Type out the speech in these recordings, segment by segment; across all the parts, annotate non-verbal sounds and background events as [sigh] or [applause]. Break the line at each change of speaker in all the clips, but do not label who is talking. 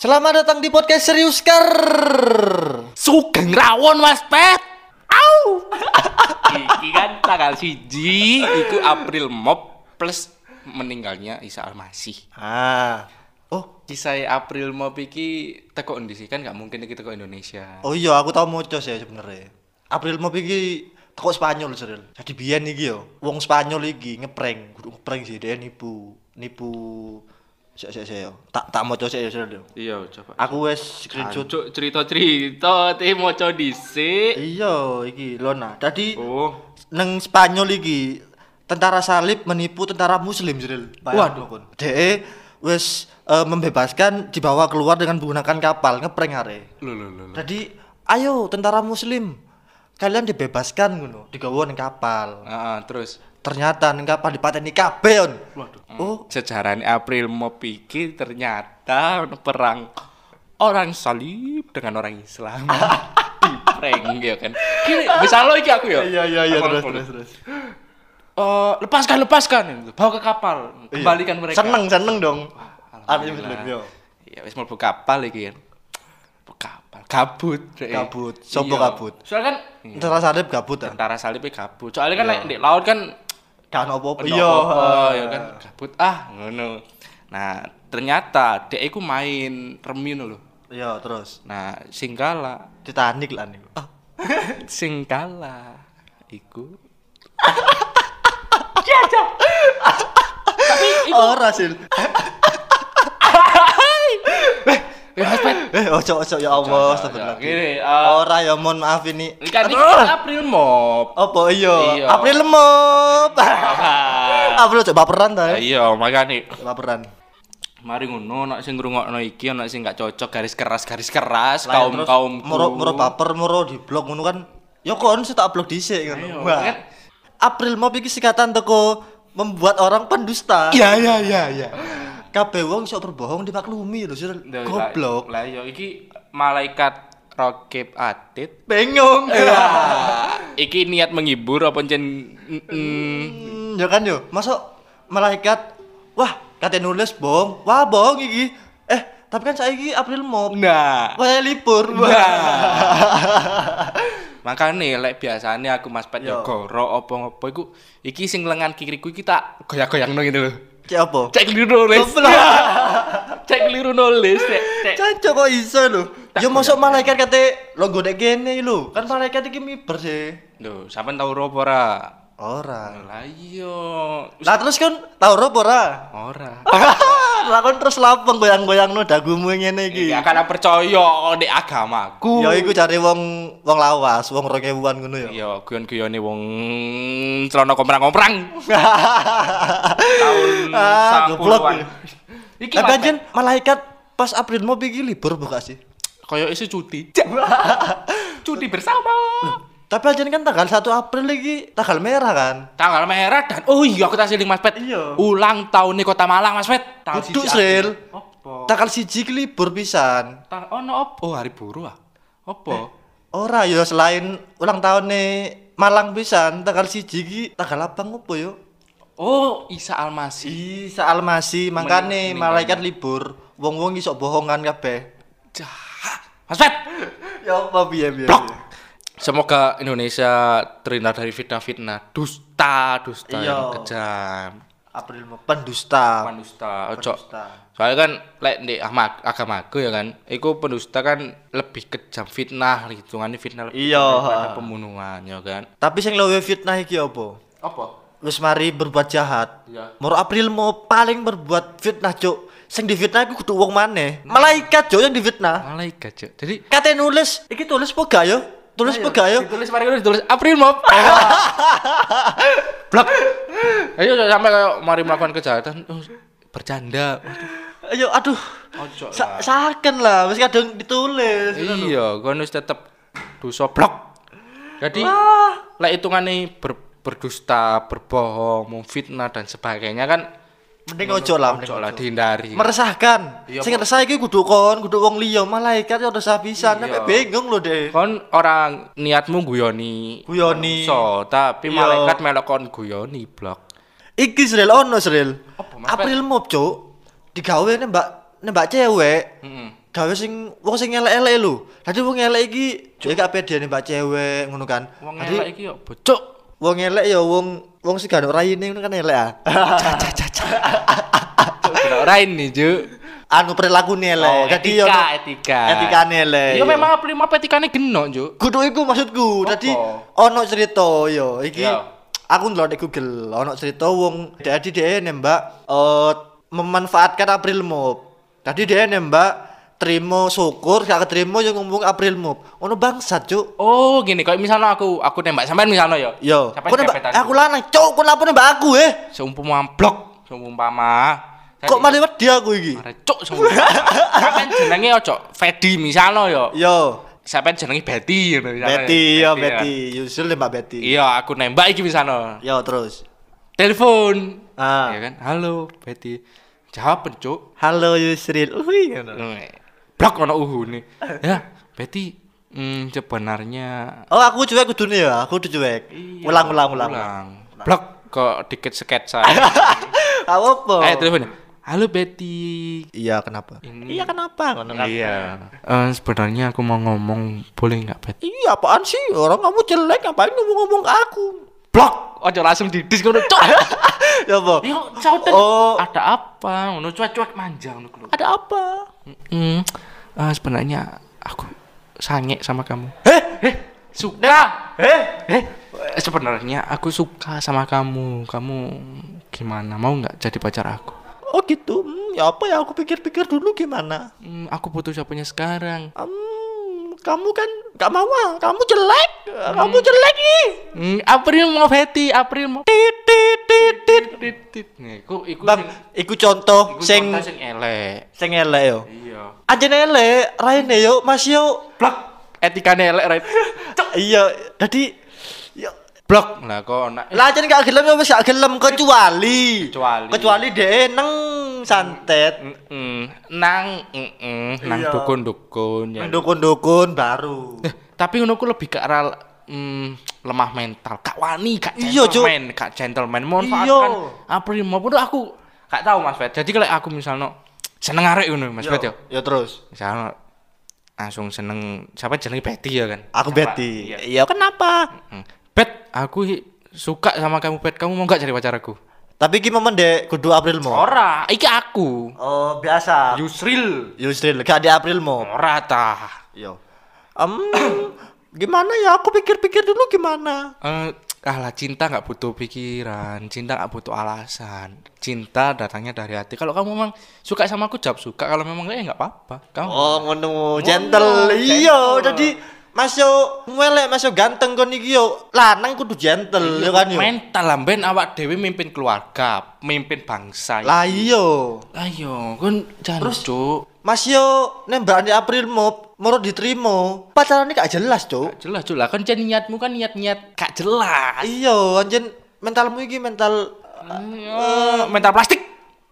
Selamat datang di podcast Serius Kar.
Sugeng rawon Mas Pet. Au. iki kan tanggal siji itu April Mop plus meninggalnya Isa Almasih.
Ah. Oh,
Kisah April Mop iki teko endi sih kan nggak mungkin iki teko Indonesia.
oh iya aku tau mocos ya sebenarnya. April mau iki teko Spanyol Cyril. Jadi biyen iki yo, wong Spanyol iki ngeprank, kudu ngeprank sih dia nipu, nipu Sik sik sik yo. Tak tak mocos ya Cyril. yo.
Iya, coba.
Aku wes screenshot.
Cuk cerita-cerita te moco dhisik.
Iya, iki Lona. Tadi
Oh.
neng Spanyol iki tentara salib menipu tentara muslim Cyril.
Waduh.
DE wes eh, membebaskan dibawa keluar dengan menggunakan kapal ngeprank are.
Lho lho lho. lho.
Jadi ayo tentara muslim kalian dibebaskan ngono, digawa ning kapal.
Ah, ah, terus
Ternyata ning kapal dipateni kabeh on.
Waduh.
Oh,
sejarahnya April mau pikir ternyata ono perang orang salib dengan orang
[laughs]
Islam di prank ya kan Gini, bisa lo iki aku ya
iya iya iya
Aku
terus
langsung,
terus terus.
"Eh, lepaskan lepaskan bawa ke kapal kembalikan mereka
Iya. Seneng seneng dong. Artinya
Alhamdulillah.
muslim yo.
iya wis mlebu kapal iki kan Mlebu kapal kabut Dek.
Kabut. Sopo
Iya.
kabut?
soalnya kan
Tentara salib kabut ah.
tentara salib kabut soalnya
Iya.
kan nek di laut kan
Kan opo-opo.
Iya, ya kan kabut ah ngono. Nah, ternyata dek iku main remi ngono lho.
Iya, terus
Nah, sing [laughs] kalah,
Titanic lah niku. Ah,
sing kalah iku
Ora sih.
Eh, Mas Pet.
Eh, ojo ojo ya Allah, astagfirullah.
Gini, eh,
Ora ya mohon maaf ini.
ini kan ini
Aduh.
April Mop.
Apa
Iya.
iya? April mop. [laughs] April coba baperan ta.
Ah, Iya, makane
Baperan.
mari ngono nek sing ngrungokno iki nek sing gak cocok garis keras garis keras
Lah,
kaum
terus
kaum
moro moro baper moro di blok ngono kan ya kon sih tak blok dhisik
Ayo,
ngono
kan?
Wah. April Mop iki sikatan teko membuat orang pendusta
Iya, iya, iya, iya.
kabeh wong iso berbohong dimaklumi lho Sir. goblok
Lah iya iki malaikat rokib atit
bengong [laughs]
Ah, [laughs] iki niat menghibur apa jen
Hmm, ya kan yo masuk malaikat wah kate nulis bohong wah bohong iki eh tapi kan saya iki April Mop
nah
Wah libur wah [laughs]
makanya lek biasanya aku mas pet
Yo.
yo goro apa apa iku iki sing lengan kiriku iki tak goyang goyang nong gitu loh
Cek apa
cek keliru nulis
Goblok.
[laughs] cek keliru nulis cek cek
Cancok kok iso lho. Ya mosok malaikat kate lo godek kene lho. Kan malaikat iki miber sih.
Duh, sampean tau ora apa ora
Ora.
lah iya
Lah terus kan tau rob ora? [laughs]
ora
Ah, Lah kon terus lapeng goyang-goyangno dagumu ngene iki.
gak akan percaya di agamaku
Ya iku cari wong wong lawas, wong 2000-an ngono ya. [laughs]
yo guyon-guyone wong celana komprang-komprang tahun
Ah, goblok.
90-an. Iki
Tapi
Mas
anjen malaikat pas April mau iki libur buka sih.
Kayak isi cuti.
[laughs]
cuti bersama.
Tapi anjen kan tanggal 1 April lagi tanggal merah kan.
Tanggal merah dan oh iya aku tak siling Mas Pet.
Iya.
Ulang tahun nih Kota Malang Mas Pet. Tanggal
Duduk
siji April.
Sril.
Apa?
Tanggal siji ki libur pisan.
Tang ono apa? Oh, hari buruh ah.
Eh.
Apa?
Ora yo selain ulang tahun nih Malang pisan tanggal siji ki tanggal apa ngopo yo?
Oh, Isa Almasih.
Di saal masih makane
Mending-
malaikat libur, wong-wong iso bohongan kabeh.
Jahat. Mas Pet.
Ya apa piye piye.
Blok.
piye.
Semoga Indonesia terhindar dari fitnah-fitnah dusta, dusta
Iya.
yang kejam.
April mau pendusta.
Pendusta, ojo.
Pendusta.
Soalnya kan lek di agama agamaku ya kan, iku pendusta kan lebih kejam fitnah hitungannya fitnah lebih
Iya.
daripada pembunuhan ya kan.
Tapi sing luwih fitnah iki apa?
Apa?
Wis mari berbuat jahat.
Iya.
Moro April mau paling berbuat fitnah, Cuk. Sing difitnah iku kudu wong maneh. Malaikat Cuk yang difitnah.
Malaikat, Cuk. Jadi
Kate nulis, iki tulis apa gak yo? Tulis apa gak yo?
ditulis mari ditulis April [laughs] Mop. Blok. Ayo Cuk, sampai kayak mari melakukan kejahatan oh, bercanda. Waduh,
Ayo aduh.
Ojo
Sa saken lah, wis kadung ditulis.
Iya, kono wis tetep dosa blok. Jadi lek hitungane ber, berdusta, berbohong, memfitnah dan sebagainya kan
Mending ojo lah, mending
ojo lah dihindari.
meresahkan.
Iya,
Sing resah iki kudu kon, kudu wong liya, malaikat yo resah pisan, sampe bingung lho, Dek.
kon orang niatmu guyoni
Guyoni.
so tapi
Iya.
malaikat melok kon guyoni blok
Iki Sril ono Sril.
Apa, Mas?
April Mop, Cuk. Digawe nih Mbak, nih Mbak cewek.
Heeh.
gawe sing wong sing elek-elek lho. Dadi wong elek iki ya gak pedene mbak cewek ngono kan.
Wong
Dadi
elek iki yo bocok.
wong elek ya wong wong sing gak ono raine ngono kan elek ah.
Ora ini, Juk.
anu perilakunya elek.
Oh,
Dadi
etika,
ono-
etika.
Etikane elek.
Yo memang apel map etikane geno, Juk.
Kudu iku maksudku. Dadi ono cerita yo iki
Ya.
aku ndelok di Google ono cerita wong dadi dhek nembak eh, memanfaatkan April Mop. Tadi dia nembak Trimo syukur gak ketrimo yo ngomong April Mop. Ono bangsat, Cuk.
Oh, gini kok misalnya aku aku tembak sampean misalnya yo.
Yo,
Sampean
kok nembak
cepetan.
aku lanang, Cuk, kok lapo nembak aku eh?
seumpama blok, seumpama.
Kok malah wedi aku iki?
Mare cuk
[laughs]
seumpama. Sampean jenenge ojo Fedi misalnya yo.
Yo,
Sampean jenenge Betty ngono misalnya.
Betty yo
ya.
Betty, usul nembak Betty.
Iya, aku nembak iki misalnya.
Yo terus.
Telepon.
Ah.
Ya kan? Halo, Betty. Jawab, Cuk.
Halo Yusril. Ui,
Iya.
ngono.
blok ono uhune. Ya, Betty mm, sebenarnya
Oh aku cuek kudune ya, aku udah cuek.
Iya,
Ulang ulang ulang. [laughs] ulang.
Blok kok dikit sketsa.
[laughs] Apa apa?
Ayo telepon. Halo Betty.
Iya kenapa? Iya kenapa? Ngono kan.
Iya. Eh sebenarnya aku mau ngomong boleh nggak Betty?
Iya apaan sih? Orang kamu jelek ngapain kamu ngomong ke aku? [laughs]
Blok. Ojo langsung didis ngono cok.
ya apa?
Yo, sauten.
Oh.
Ada apa? Ngono cuek-cuek manja ngono lho.
Ada apa?
Mm, eh, sebenarnya aku sange sama kamu.
Eh?
Suka.
Eh?
Eh, sebenarnya aku suka sama kamu. Kamu gimana? Mau nggak jadi pacar aku?
Oh gitu. Hmm, ya apa ya aku pikir-pikir dulu gimana?
Hmm, aku butuh siapanya sekarang.
Hmm, kamu kan gak mau ah. Kamu jelek. Kamu jelek ih.
Hmm, April mau Betty, April mau.
Tit tit tit tit.
Tit, tit. Nih, ku iku
Bang,
sing-
iku contoh
iku
sing
contoh sing elek.
sing elek yo.
Iya.
Anjene elek, raine yo masih yo
Blok. Etikane elek, right?
iya jadi ya
[laughs] Blok. Lah kok nak eh,
lah jeneng gak gelem ya wis gak gelem kecuali
Kecuali.
kecuali dhek neng santet
mm, nang mm, mm, nang
Iya.
dukun-dukun ya.
dukun-dukun baru
Eh, tapi ngono ku lebih ke arah mm, lemah mental kak wani kak
Iya, Cuk.
gentleman kak gentleman mohon maafkan
Iya.
April maupun aku gak tahu mas Fed jadi kalau aku misalnya seneng arek ngono mas Fed ya
ya terus
misalnya langsung seneng siapa jenenge Betty ya kan
aku
Siapa?
beti
iya.
ya kenapa
Hmm. Bet aku hi- suka sama kamu Bet kamu mau gak jadi pacar aku
tapi ki momen dek kudu April mo
ora iki aku
oh biasa
Yusril
Yusril gak di April mo
ora tah
yo em gimana ya aku pikir-pikir dulu gimana
Eh, alah cinta nggak butuh pikiran, cinta nggak butuh alasan. Cinta datangnya dari hati. Kalau kamu memang suka sama aku, jawab suka. Kalau memang enggak ya nggak apa-apa. Kamu
oh ngono gentle iya
gentle.
jadi Mas yo melek, Mas yo ganteng kon iki yo lanang kudu gentle yo kan yo.
mental lamben awak dewi mimpin keluarga, mimpin bangsa.
Lah iyo.
Ayo, kan jangan Terus,
Mas yo nembak di April Mop, moro diterima. Pacarannya gak jelas, Cuk.
Jelas, jelas. Kan jan niatmu kan niat-niat gak jelas.
Iya, anjen mentalmu iki mental
Ayo, Eh, mental plastik.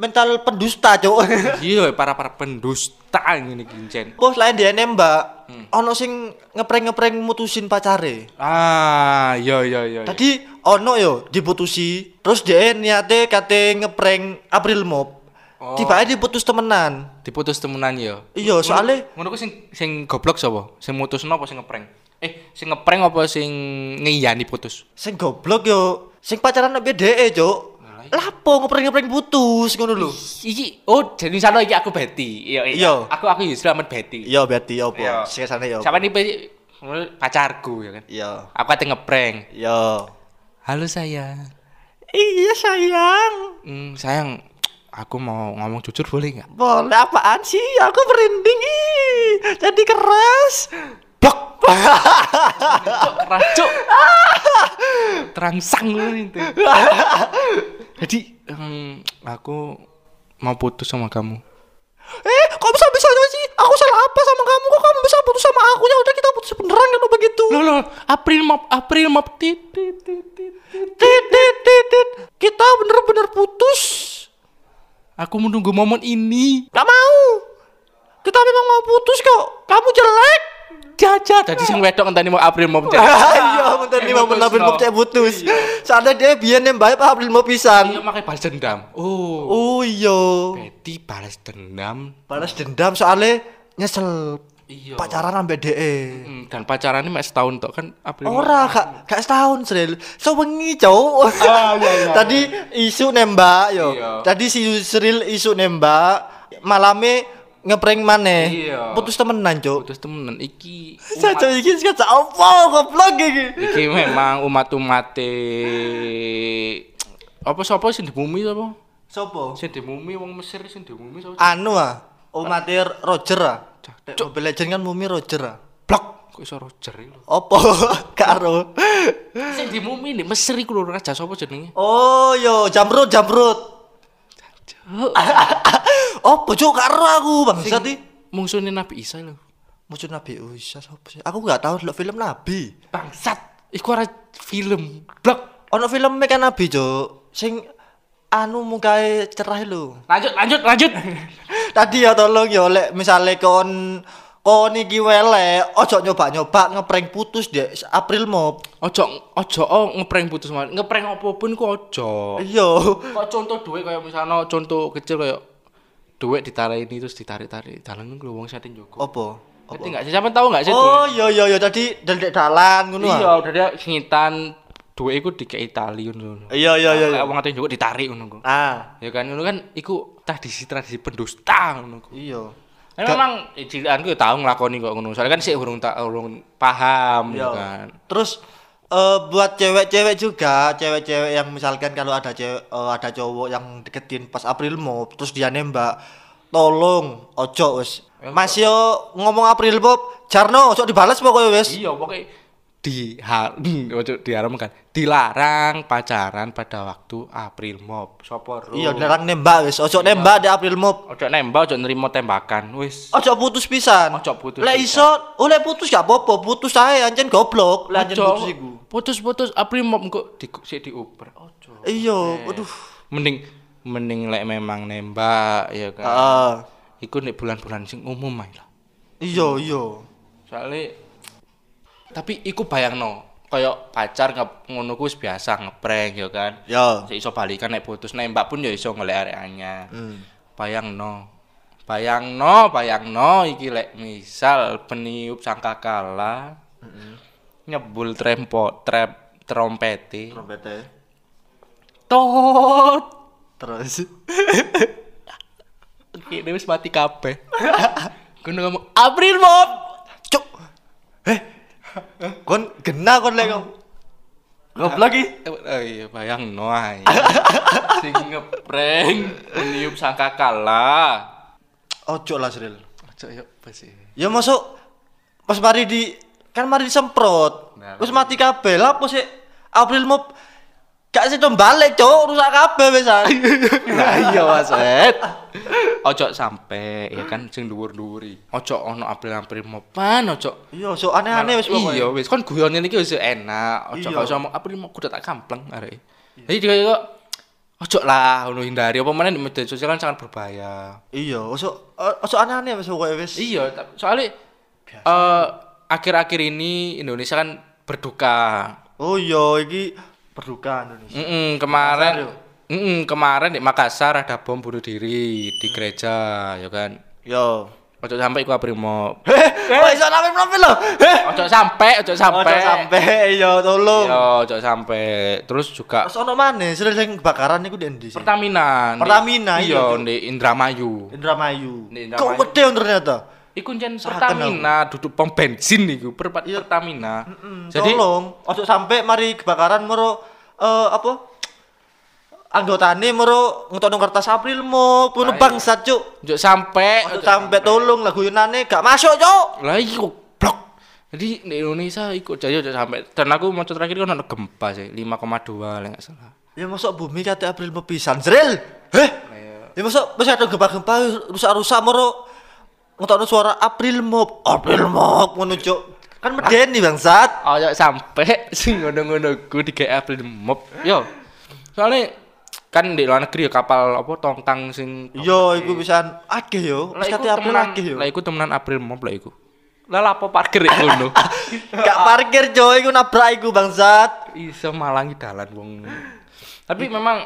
mental pendusta, Cuk. [laughs]
Iya, para para pendusta ini gincen.
Bos lain dia nembak, ono sing ngeprank-ngeprank mutusin pacare.
Ah, iya iya iya. iya.
Tadi ono yo diputusi, terus dia niate kate ngeprank April Mop.
Oh.
Tiba-tiba diputus temenan.
diputus temenan ya.
Iya, soalnya-
ngono ku sing sing goblok sapa? Sing mutusno apa sing ngeprank? Eh, sing ngeprank apa sing ngiyani putus?
Sing goblok yo, sing pacaran ambek dhek, Cuk.
iya.
Lapo ngeprank-ngeprank putus ngono lho.
Iki oh jadi sana iki aku Betty. Iya,
Iya.
Aku aku Yusra amat Betty.
Iya, berarti yo,
Iya.
Bos. Sing kesane yo.
Siapa nih pacarku ya kan?
Iya.
Aku ate ngeprank.
Yo.
Halo sayang.
Iya sayang.
Hmm, sayang, aku mau ngomong jujur boleh nggak?
Boleh apaan sih? Aku merinding. ih. Jadi keras.
Blok.
[laughs]
Cuk, keras, cuk. [laughs] Terangsang lu [laughs] itu. Jadi em, aku mau putus sama kamu.
Eh, kok bisa bisa sih? Aku salah apa sama kamu? Kok kamu bisa putus sama aku? Ya udah kita putus beneran kalau begitu.
Loh, loh, April map April map tit tit tit tit.
Tit, tit, tit, tit. Kita bener-bener putus.
Aku menunggu momen ini.
Gak mau. Kita memang mau putus kok. Kamu jelek.
Jajat. Tadi sing Eh, wedok enteni mau April
[laughs]
map. [laughs]
Iya, bentar nih mau menabin mau cek putus. Soalnya dia biar nembak April mau
Iya
pisan.
makai balas dendam. Oh,
Oh iya.
Betty balas dendam.
balas dendam soalnya nyesel
Iya.
pacaran ambek E. DE.
Hmm, dan pacarannya mek setahun tok kan April.
Ora, gak gak setahun, Sril. Sewengi, Cuk. [laughs]
Ah, iya, iya.
Tadi isu nembak yo.
Iya.
Tadi si Sril isu nembak, malame ngeprank maneh.
Iya.
Putus temenan, Cuk.
Putus temenan iki. umat-
Saja iki sik gak apa goblok iki.
iki memang umat-umate apa sapa sing dibumi sapa?
Sopo?
Sing dibumi wong Mesir sing dibumi sapa?
Anu ah, omatir Roger ah.
Cuk.
Nek Mobile Legend kan mumi Roger ah. Blok.
Kok iso Roger iki lho.
[laughs] Opo? Karo.
Sing dibumi nek Mesir iku lho raja sapa jenenge?
Oh yo, jamrut jamrut. [laughs] Opo cuk karo aku bangsat iki.
Mungsuhne Nabi Isa lho.
Musuh Nabi Isa sapa sih? Aku gak tahu delok film Nabi.
Bangsat. Iku ora film. Blok.
Ono film e kan Nabi cuk. Sing anu mukae cerah lho. [laughs]
Lanjut lanjut lanjut.
Tadi ya tolong ya lek misale kon kon iki welek, ojo nyoba-nyoba ngeprank putus dek April Mop.
[laughs] Ojo ojo oh, ngeprank putus mawon. Ngeprank apapun ku
Oh.
ojo.
Iya.
Kok contoh duit kayak misalnya contoh kecil kayak duit ditarik ini terus ditarik-tarik dalan ku wong sate njogo.
Opo?
Ngerti enggak? Sampeyan tahu enggak sih duit?
Oh, iya iya iya tadi dari dalan ngono ah.
Iya, udah dia ngitan duit iku dikei tali ngono.
Iya iya iya. iya.
Kayak wong atuh njogo ditarik ngono ku.
Ah,
Ya kan ngono kan iku tradisi-tradisi pendusta ngono ku.
iya.
Ya memang eh, cilikanku ya tau nglakoni kok ngono. Soalnya kan sik urung tak urung paham ya
Iya.
kan.
Terus eh, buat cewek-cewek juga, cewek-cewek yang misalkan kalau ada cewek eh, ada cowok yang deketin pas April mau terus dia nembak, tolong ojo wis. Mas yo ngomong April Bob, Jarno ojo dibales pokoknya wis.
Iya, pokoknya dihar [laughs] ojo diharamkan dilarang pacaran pada waktu April Mop sopor
Iya, dilarang nembak wis, ojo nembak di April Mop.
ojo nembak ojo nerima tembakan wis
Ojo putus pisan.
Ojo putus
Lek iso, oh lek putus gak apa-apa, putus ae anjen goblok, lek anjen putus iku.
putus putus April Mop kok di sik dioper ojo Eh.
Iya, aduh.
mending mending lek memang nembak ya kan
Heeh.
iku nek bulan-bulan sing umum ae lah
Iya, iya.
soalnya tapi iku bayangno kayak pacar nge- ngono ku wis biasa ngeprank ya kan
Ya.
Sik iso balikan nek putus nembak pun ya iso ngelek arek anyar.
Hmm.
Bayangno. Bayangno, bayangno iki lek misal peniup sangkakala
Hmm.
nyebul trempo trap trompete.
Trompete.
Tot.
Terus.
Oke, dia wis mati kabeh. [laughs] Kudu ngomong April Bob.
Cuk. Eh. Kon gena kon lek ngom- Goblok iki.
Eh, Oh iya, bayangno ae. [laughs] Sing ngeprank peniup sangkakala.
Ojo Oh, lah Sril.
Ojo yo besi. [laughs]
Ya masuk pas mari di kan mari disemprot.
Nah,
Terus mati kabel apa sih? April mau gak sih balik cok rusak ah. kabel
[laughs]
besan.
Lah iya Mas Ed. Ojo sampe ya kan sing dhuwur-dhuwuri. Ojo ono april-april mopan ojo.
Iya, so aneh-aneh wis pokoknya.
Iya wis kon guyon iki wis enak.
Iya.
Ojo kok ngomong april mau kudu tak kampleng arek. Jadi dia kok ojo lah ono hindari apa meneh di media sosial kan sangat berbahaya.
Iya, oso oso aneh-aneh wis pokoknya wis.
Iya, ta- soalnya eh akhir-akhir ini Indonesia kan berduka.
Oh iya, iki perduka Indonesia.
Mm-mm, kemarin
Makassar,
Mm-mm, kemarin di Makassar ada bom bunuh diri di gereja ya kan.
Yo.
Ojo sampai iku aprimo.
Heh, kok iso nami profil Eh. Oh, lo? Heh.
Ojo sampai, ojo Eh, sampai.
Ojo sampe yo tolong.
Yo, ojo sampe. Terus juga
Terus ono maneh sering sing kebakaran niku di Indonesia.
Pertamina.
Pertamina, iya,
iya
Cuk.
di Indramayu.
Indramayu.
Di Indramayu.
Kok gede on ternyata.
Iku njen
Saken
Pertamina duduk pom bensin niku per Pertamina.
Jadi
Hmm, Jadi
Hmm, tolong ojo sampe mari kebakaran mero eh apa? Anggotane mero ngetokno kertas April mo puno
Ayo.
bangsat cuk.
ojo sampai,
Ojo sampe tolong lah guyonane gak masuk cuk.
Lah iki goblok. Jadi di Indonesia ikut jadi ojo sampai. Dan aku mau terakhir kan ada gempa sih 5,2 lah nggak salah.
Ya masuk bumi kate April mo pisan. Zril. Heh. Ya masuk wis ada gempa-gempa rusak-rusak mero ngetokno suara April mo. April mo ngono cuk. Kan medeni bangsat.
Ojo Oh, sampai [laughs] sing ngono-ngono ku di April mob. Yo. Soalnya kan di luar negeri ya kapal apa tongtang sing
Yo, iku pisan akeh yo. Wis kate April akeh yo.
Lah iku temenan April mob lah iku. Lah lapo parkir ya ngono.
Gak parkir coy, iku nabrak iku bangsat.
Iso malangi dalan wong. Tapi memang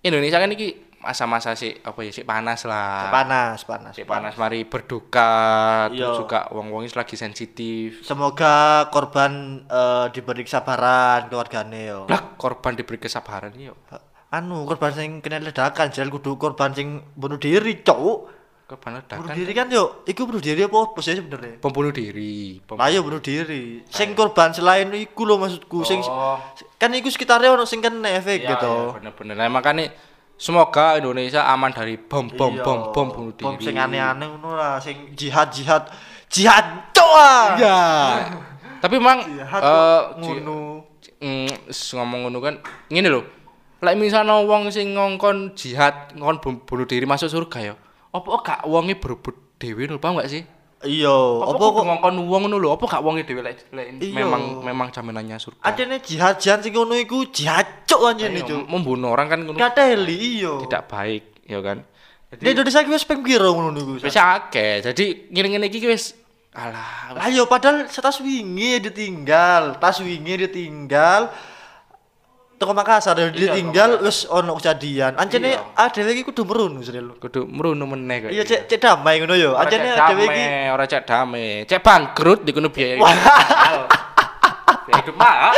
Indonesia kan iki masa-masa sih apa ya sih panas lah.
panas panas
Sik panas mari berduka terus
Iya.
juga wong-wong lagi sensitif.
semoga korban eh, diberi kesabaran keluargane yo
Lah korban diberi kesabaran iya. yo.
anu korban sing kena ledakan jel kudu korban sing bunuh diri cowok
Korban
bunuh
ledakan
diri kan yo iku bunuh diri apa apa sih sebenarnya
pembunuh diri. Pem-
Lah yo bunuh diri. Sing korban selain iku lho maksudku sing
Oh.
kan iku sekitarnya ono sing kena efek
Iya,
gitu.
iya, bener-bener. Lah makane semoga Indonesia aman dari bom bom
Iya.
bom bom bunuh diri.
Bom sing aneh-aneh ngono lah, sing jihad-jihad jihad coa.
Iya. Tapi mang
Jihad
eh ji-
ngono.
mm, s- ngomong ngono kan ngene lho. Lek misalnya wong sing ngongkon jihad, ngongkon bom- bunuh diri masuk surga ya. Apa gak wonge berebut dhewe lho paham gak sih?
Iya, apa
Apa kok
kok
ngongkon wong ngono lho, apa gak wonge dhewe lek lek
Iya.
memang memang jaminannya surga.
adene jihad jihad sing ngono iku jihad cok anjene
Iya,
cok.
Membunuh orang kan ngono
Kateli iya.
tidak baik ya kan.
Di Indonesia iki wis ping pira ngono niku.
Wis akeh. Jadi ngene-ngene iki wis alah
Lah yo padahal setas wingi ya ditinggal, tas wingi ya ditinggal. Teko Makassar yo ditinggal wis ono kejadian. Ancene
Iya.
adewe iki kudu merun wis lho.
kudu mrunu meneh kok.
Iya cek cek damai ngono yo.
Ora
Ancene
cek
adewe
dame,
iki
ora cek dame. Cek bangkrut di kono biaya. Biaya hidup
[laughs]
mahal.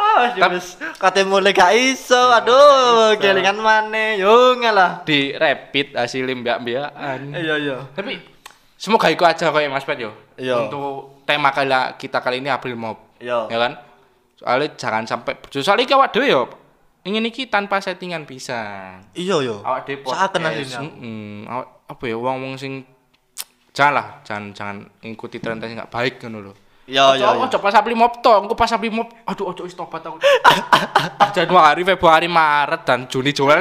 ah wis, wis kate mulai gak Iya, iso. Aduh, kelingan maneh yo ngalah.
Di rapid hasil mbak-mbakan.
Iya iya.
Tapi semoga iku aja kok ya, Mas Pet yo.
Iya.
Untuk tema kali kita kali ini April Mop.
Iya.
Ya kan? Soalnya jangan sampai soalnya iki awak dhewe yo ingin iki tanpa settingan pisan.
Iya yo.
awak dhewe
Saken asline.
Heeh. Awak apa ya wong-wong sing janganlah jangan jangan ngikuti tren tren nggak baik ngono lho.
Iya iya.
Ojo ojo pas apli mob to, engko pas apli mob. Aduh ojo wis tobat aku. [laughs] Januari, Februari, Maret dan Juni Juli.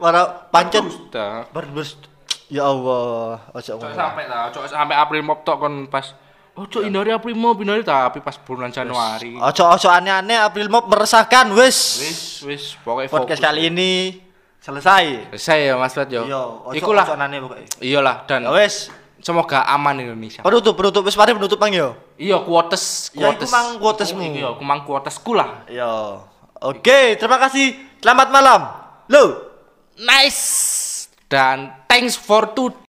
Para pancet
Sudah.
berbers. Ya Allah, ojo
Ojo
ngono.
sampai ta, ojo sampai April mob to kon pas
Ya.
ojo hindari April mob, hindari tapi pas bulan Januari.
Ojo ojo aneh-aneh April Mop meresahkan wis.
Wis wis pokoke
podcast
fokus.
kali ini selesai.
Selesai ya Mas Fat yo.
Iya,
Ikulah.
pokoknya.
Iyalah dan
Ya wes,
semoga aman Indonesia.
penutup penutup wis mari penutup Bang yo.
Iya, kuotes,
Ya, iku mang kuotesmu.
Iya, aku mang kuotesku lah.
Yo. Oke, terima kasih. Selamat malam. Loh.
Nice. Dan thanks for today.